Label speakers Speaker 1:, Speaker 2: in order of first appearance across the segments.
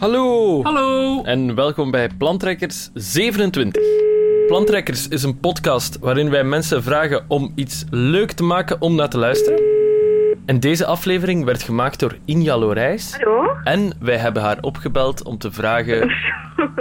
Speaker 1: Hallo.
Speaker 2: Hallo!
Speaker 1: En welkom bij Plantrekkers 27. Plantrekkers is een podcast waarin wij mensen vragen om iets leuk te maken om naar te luisteren. En deze aflevering werd gemaakt door Inja Lorijs.
Speaker 3: Hallo?
Speaker 1: En wij hebben haar opgebeld om te vragen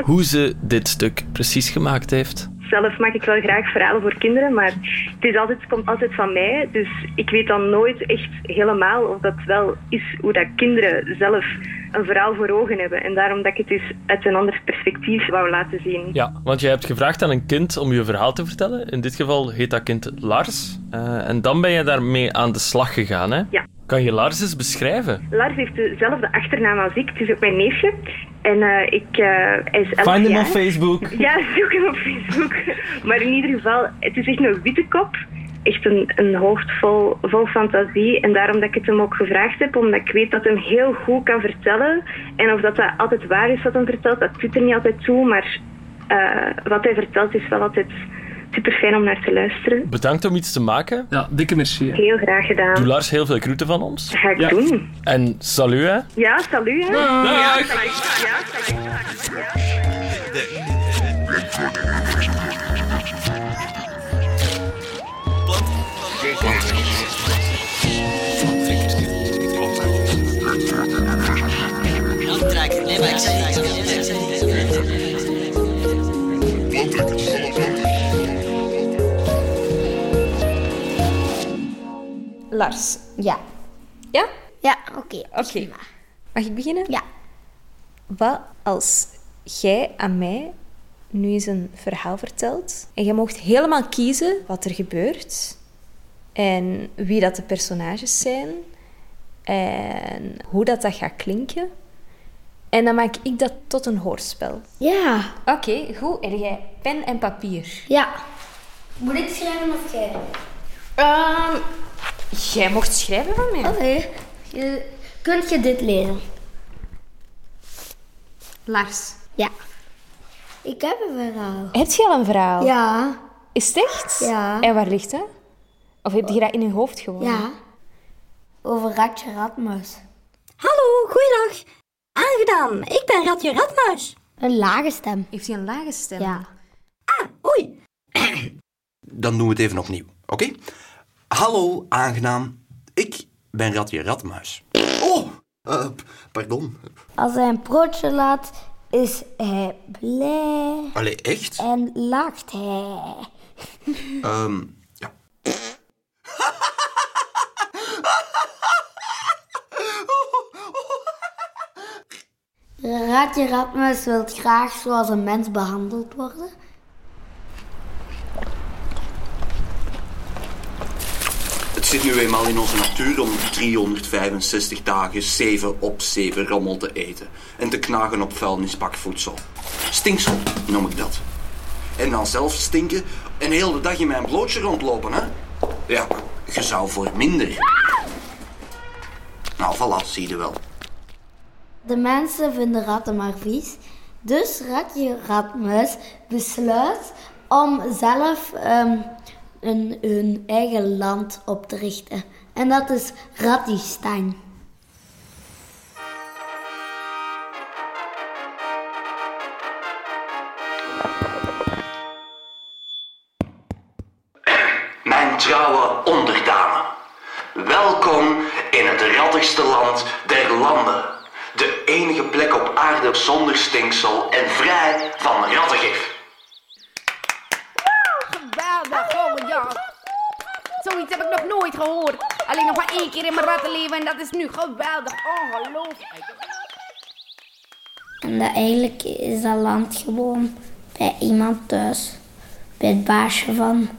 Speaker 1: hoe ze dit stuk precies gemaakt heeft.
Speaker 3: Zelf maak ik wel graag verhalen voor kinderen, maar het, is altijd, het komt altijd van mij. Dus ik weet dan nooit echt helemaal of dat wel is hoe dat kinderen zelf een verhaal voor ogen hebben. En daarom dat ik het eens uit een ander perspectief wou laten zien.
Speaker 1: Ja, want je hebt gevraagd aan een kind om je verhaal te vertellen. In dit geval heet dat kind Lars. Eh, en dan ben je daarmee aan de slag gegaan, hè?
Speaker 3: Ja.
Speaker 1: Kan je Lars eens beschrijven?
Speaker 3: Lars heeft dezelfde achternaam als ik. Het is ook mijn neefje. En eh, ik, eh, hij is 11
Speaker 4: Find hem
Speaker 3: jaar.
Speaker 4: op Facebook.
Speaker 3: Ja, zoek hem op Facebook. Maar in ieder geval, het is echt een witte kop. Echt een, een hoofd vol, vol fantasie. En daarom dat ik het hem ook gevraagd heb, omdat ik weet dat hij hem heel goed kan vertellen. En of dat, dat altijd waar is wat hij vertelt, dat doet er niet altijd toe. Maar eh, wat hij vertelt is wel altijd super fijn om naar te luisteren.
Speaker 1: Bedankt om iets te maken.
Speaker 2: Ja, dikke merci. hè.
Speaker 3: Heel graag gedaan.
Speaker 1: Doe
Speaker 3: Dat
Speaker 1: Lars heel veel groeten van ons.
Speaker 3: ga ik
Speaker 2: Ja.
Speaker 3: doen.
Speaker 1: En salut, hè?
Speaker 3: Ja, salut. Hè. Ja,
Speaker 1: Dag!
Speaker 3: salut. Ja, salut. Ja.
Speaker 5: Plantrekker. Nee, maar ik zei ik zei- ik zei- ik zei- ik zei-
Speaker 6: Lars.
Speaker 7: Ja.
Speaker 6: Ja?
Speaker 7: Ja, oké.
Speaker 6: Oké. Mag ik beginnen?
Speaker 7: Ja.
Speaker 6: Wat als jij aan mij nu eens een verhaal vertelt en jij mocht helemaal kiezen wat er gebeurt en wie dat de personages zijn en hoe dat, dat gaat klinken. En dan maak ik dat tot een hoorspel.
Speaker 7: Ja.
Speaker 6: Oké, goed. En jij pen en papier.
Speaker 7: Ja. Moet ik schrijven of jij?
Speaker 6: Jij mocht schrijven van mij.
Speaker 7: Oké. Je- Kunt je dit lezen?
Speaker 6: Lars.
Speaker 7: Ja. Ik heb een verhaal.
Speaker 6: Heb je al een
Speaker 7: Oh.
Speaker 6: verhaal?
Speaker 7: Ja.
Speaker 6: Is het echt?
Speaker 7: Ja.
Speaker 6: En waar ligt dat? Of heb je dat in je hoofd gewoon?
Speaker 7: Ja. Oh. Over Ratje Radmuis.
Speaker 8: Hallo, goeiedag. Aangedaan, ik ben Ratje Radmuis.
Speaker 7: Een lage stem.
Speaker 6: Heeft hij een lage stem?
Speaker 7: Ja. Ah,
Speaker 8: Oei,
Speaker 9: Dan doen we het even opnieuw, oké? Hallo, aangenaam. Ik ben Ratje Radmuis. Oh, eh, p- pardon.
Speaker 7: Als hij een broodje laat, is hij blij
Speaker 9: Allee, echt?
Speaker 7: en lacht hij.
Speaker 9: Ehm, ja.
Speaker 7: Ratje Radmuis wil graag zoals een mens behandeld worden.
Speaker 9: Het zit nu eenmaal in onze natuur om 365 dagen 7 op 7 rommel te eten. En te knagen op vuilnisbakvoedsel. Stinksel noem ik dat. En dan zelf stinken en heel de dag in mijn blootje rondlopen, hè? Ja, je zou voor minder. Nou, voilà, zie je wel.
Speaker 7: De mensen vinden ratten maar vies. Dus Ratje Ratmus besluit om zelf ehm, een, hun eigen land op te richten. En dat is Rattistan.
Speaker 9: Mijn trouwe onderdanen. Welkom in het rattigste land der landen. De enige plek op aarde zonder stinksel en vrij van rattengif.
Speaker 10: Geweldig, oh ja. Zoiets heb ik nog nooit gehoord. Alleen nog maar één keer in mijn rattenleven en dat is nu geweldig. Oh, hallo.
Speaker 7: En dat eigenlijk is dat land gewoon bij iemand thuis. Bij het baasje van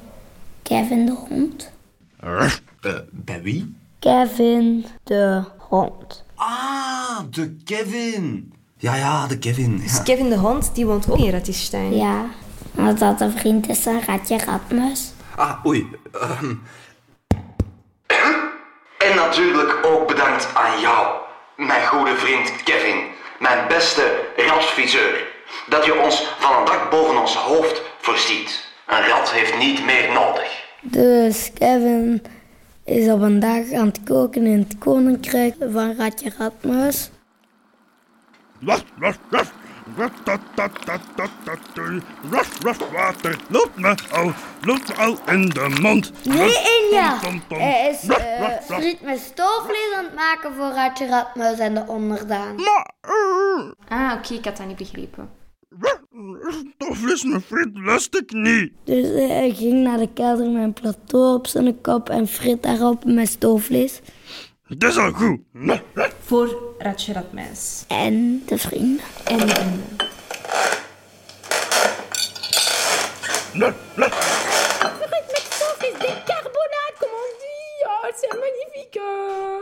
Speaker 7: Kevin de Hond.
Speaker 9: Eh, bij wie?
Speaker 7: Kevin de Hond.
Speaker 9: Ah, de Kevin. Ja, ja, de Kevin. Ja.
Speaker 6: Dus Kevin de Hond, die woont ook in Ratisstein.
Speaker 7: Ja, want dat een vriend is van Ratje Ratmus.
Speaker 9: Ah, oei. ehm. En natuurlijk ook bedankt aan jou, mijn goede vriend Kevin. Mijn beste ratviseur. Dat je ons van een dak boven ons hoofd voorziet. Een rat heeft niet meer nodig.
Speaker 7: Dus Kevin is op een dag aan het koken in het koninkrijk van Ratje Ratmuis.
Speaker 2: Waf, waf, waf. Ratatatatatu. Waf, waf, water. Loopt me al, loopt me al in de mond.
Speaker 7: Nee,
Speaker 2: Waf,
Speaker 7: Inja.
Speaker 2: tom, tom, tom.
Speaker 7: Hij is
Speaker 2: Waf,
Speaker 7: eh,
Speaker 2: waf, waf.
Speaker 7: friet met stoofvlees aan het maken voor Ratje Radmuis en de onderdaan.
Speaker 2: eh,
Speaker 6: Ah, oké, ik had dat niet begrepen.
Speaker 2: Stoofvlees met friet lust ik niet.
Speaker 7: Dus eh, hij ging naar de kelder met een plateau op zijn kop en frit daarop met stoofvlees.
Speaker 2: Het is al goed. Waf, waf.
Speaker 6: Voor Ratje Radmijs.
Speaker 7: En de vrienden.
Speaker 6: En de vrienden.
Speaker 2: Waf, waf.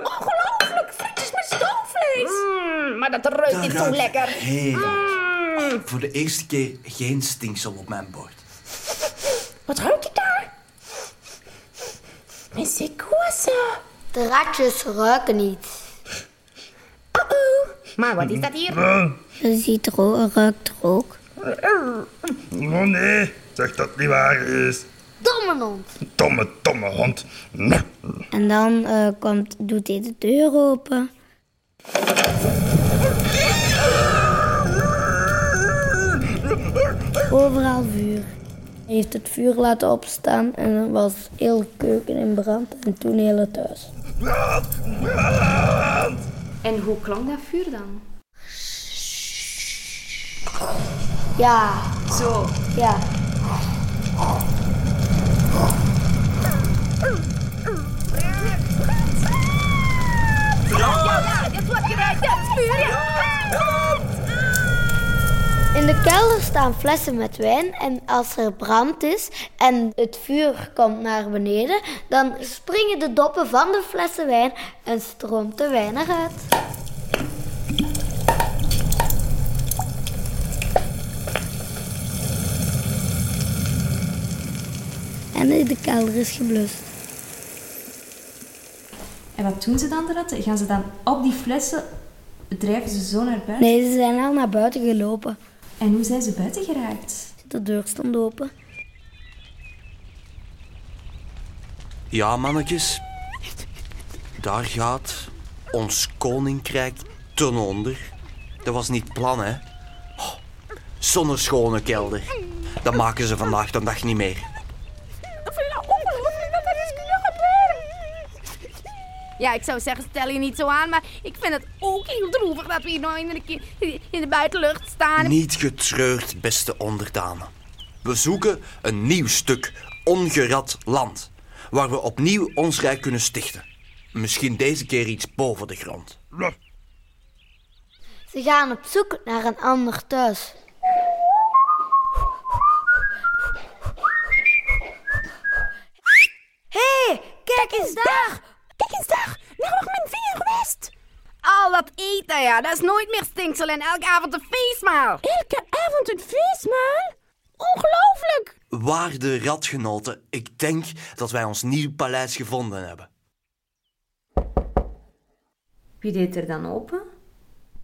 Speaker 10: Ongelooflijk, frietjes met stoofvlees. maar dat ruikt niet zo lekker.
Speaker 9: Heerlijk. Voor de eerste keer geen stinksel op mijn bord.
Speaker 10: Wat ruikt het daar? Mais c'est quoi ça?
Speaker 7: De ratjes ruiken niet.
Speaker 10: Uh-oh. Maar wat is dat hier?
Speaker 2: Eh,
Speaker 7: Je ziet ro ruikt rook.
Speaker 2: Oh nee, zeg dat het niet waar is.
Speaker 7: Domme hond.
Speaker 2: Domme, domme hond. Waf.
Speaker 7: En dan eh, komt, doet hij de deur open. Overal vuur. Hij heeft het vuur laten opstaan en er was heel de keuken in brand en toen heel het huis.
Speaker 2: Brand, brand.
Speaker 6: En hoe klonk dat vuur dan?
Speaker 7: Ja,
Speaker 6: Zo.
Speaker 7: ja. In de kelder staan flessen met wijn en als er brand is en het vuur komt naar beneden, dan springen de doppen van de flessen wijn en stroomt de wijn eruit. En de kelder is geblust.
Speaker 6: En wat doen ze dan, de ratten? Gaan ze dan op die flessen, drijven ze zo naar buiten?
Speaker 7: Nee, ze zijn al naar buiten gelopen.
Speaker 6: En hoe zijn ze buiten geraakt?
Speaker 7: De deur stond open.
Speaker 9: Ja, mannetjes. Daar gaat ons koninkrijk ten onder. Dat was niet het plan, hè? Oh, Zonder schone kelder. Dat maken ze vandaag de dag niet meer.
Speaker 10: Ja, ik zou zeggen, stel je niet zo aan, maar ik vind het ook heel droevig dat we hier nou in de, in de buitenlucht staan.
Speaker 9: Niet getreurd, beste onderdanen. We zoeken een nieuw stuk ongerad land. Waar we opnieuw ons rijk kunnen stichten. Misschien deze keer iets boven de grond.
Speaker 2: Waf.
Speaker 7: Ze gaan op zoek naar een ander thuis. Hé, hey, kijk eens daar!
Speaker 10: Kijk eens daar, nou nog mijn vinger geweest. Al dat eten, ja, dat is nooit meer stinksel en elke avond een feestmaal. Elke avond een feestmaal? Ongelooflijk.
Speaker 9: Waarde radgenoten, ik denk dat wij ons nieuw paleis gevonden hebben.
Speaker 6: Wie deed er dan open?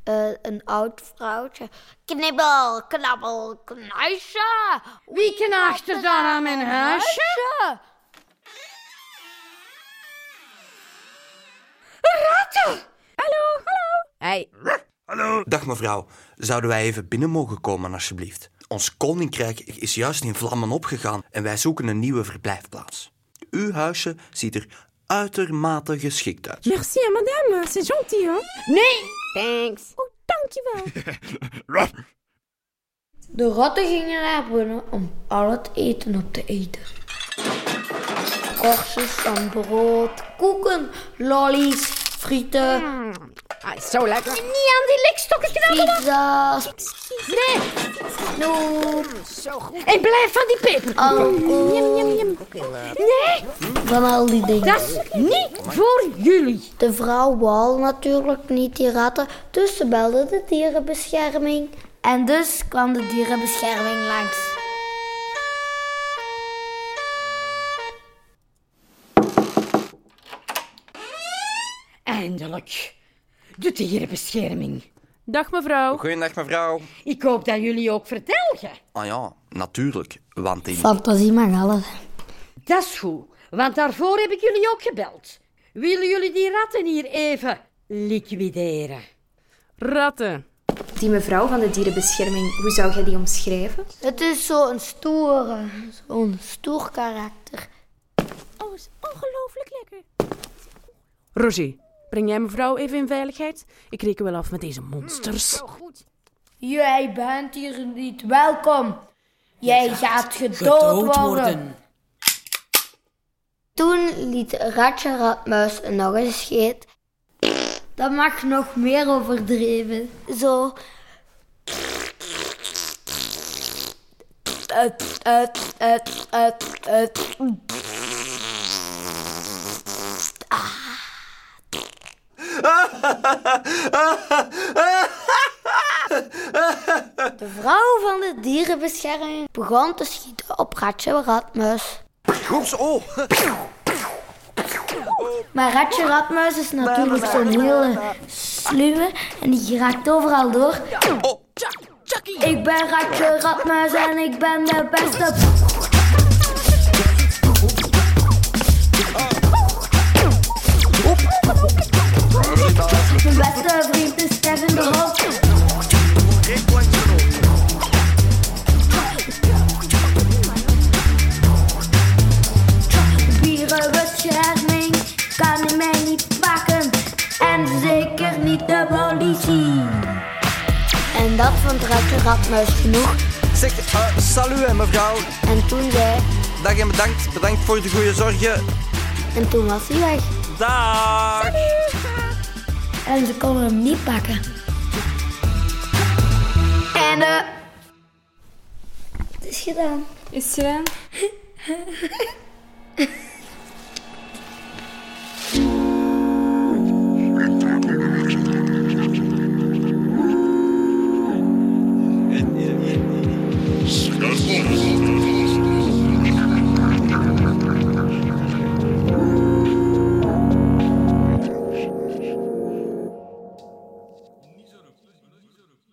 Speaker 7: Eh, een oud vrouwtje. Knibbel, knabbel, knuisje! Wie knaagt er dan aan mijn huisje?
Speaker 10: Hey,
Speaker 2: Hallo.
Speaker 9: Dag mevrouw, zouden wij even binnen mogen komen alsjeblieft? Ons koninkrijk is juist in vlammen opgegaan en wij zoeken een nieuwe verblijfplaats. Uw huisje ziet er uitermate geschikt uit.
Speaker 4: Merci à madame, c'est gentil, hein
Speaker 10: thanks.
Speaker 2: Waf.
Speaker 7: De ratten gingen naar binnen om al het eten op te eten. Korstjes van brood, koeken, lollies, frieten,
Speaker 10: Hij Ah, is zo lekker.
Speaker 7: Niet aan die likstokken knabbelen! Pizza's. Nee! Snoep.
Speaker 10: Ah, Zo goed.
Speaker 4: Et blef van die peper.
Speaker 7: Alcohol.
Speaker 10: eh,
Speaker 7: Nee! Van al die dingen.
Speaker 4: Dat is niet voor jullie.
Speaker 7: De vrouw wou natuurlijk niet die ratten, dus ze belde de dierenbescherming. En dus kwam de dierenbescherming langs.
Speaker 4: Eindelijk. De dierenbescherming. Dag mevrouw.
Speaker 9: Goedendag mevrouw.
Speaker 4: Ik hoop dat jullie ook vertelgen.
Speaker 9: Ah ja, natuurlijk, want in...
Speaker 7: Fantasie mag alles.
Speaker 4: Dat is goed, want daarvoor heb ik jullie ook gebeld. Willen jullie die ratten hier even liquideren?
Speaker 11: Ratten.
Speaker 6: Die mevrouw van de dierenbescherming, hoe zou jij die omschrijven?
Speaker 7: Het is zo'n stoere, zo'n stoer karakter.
Speaker 11: Oh, is ongelooflijk lekker.
Speaker 12: Roger, breng jij mevrouw even in veiligheid? Ik reken wel af met deze monsters.
Speaker 13: Jij bent hier niet welkom. Jij gaat gedood,
Speaker 7: gedood
Speaker 13: worden.
Speaker 7: worden. Toen liet Ratje Ratmuis nog een scheet. Dat mag nog meer overdreven. Zo.
Speaker 13: Het, het, het, het, het.
Speaker 7: De vrouw van de dierenbescherming begon te schieten op Ratje Ratmuis.
Speaker 9: Gods, oh.
Speaker 7: Maar Ratje Ratmuis is natuurlijk zo'n hele sluwe en die raakt overal door. Ik ben Ratje Ratmuis en ik ben de beste. Mijn beste vriend is Kevin de Hoop. Dierenbescherming kan mij niet pakken en zeker niet de politie. En dat vond Ratje Ratmuis genoeg.
Speaker 14: Zeg, eh, salut hè, mevrouw.
Speaker 7: En toen zei...
Speaker 14: Dag en bedankt. Bedankt voor de goede zorgen.
Speaker 7: En toen was hij weg.
Speaker 14: Dag.
Speaker 7: En ze konden hem niet pakken. En eh. Het is gedaan.
Speaker 6: Is ehm, het gedaan?
Speaker 2: Skelmos.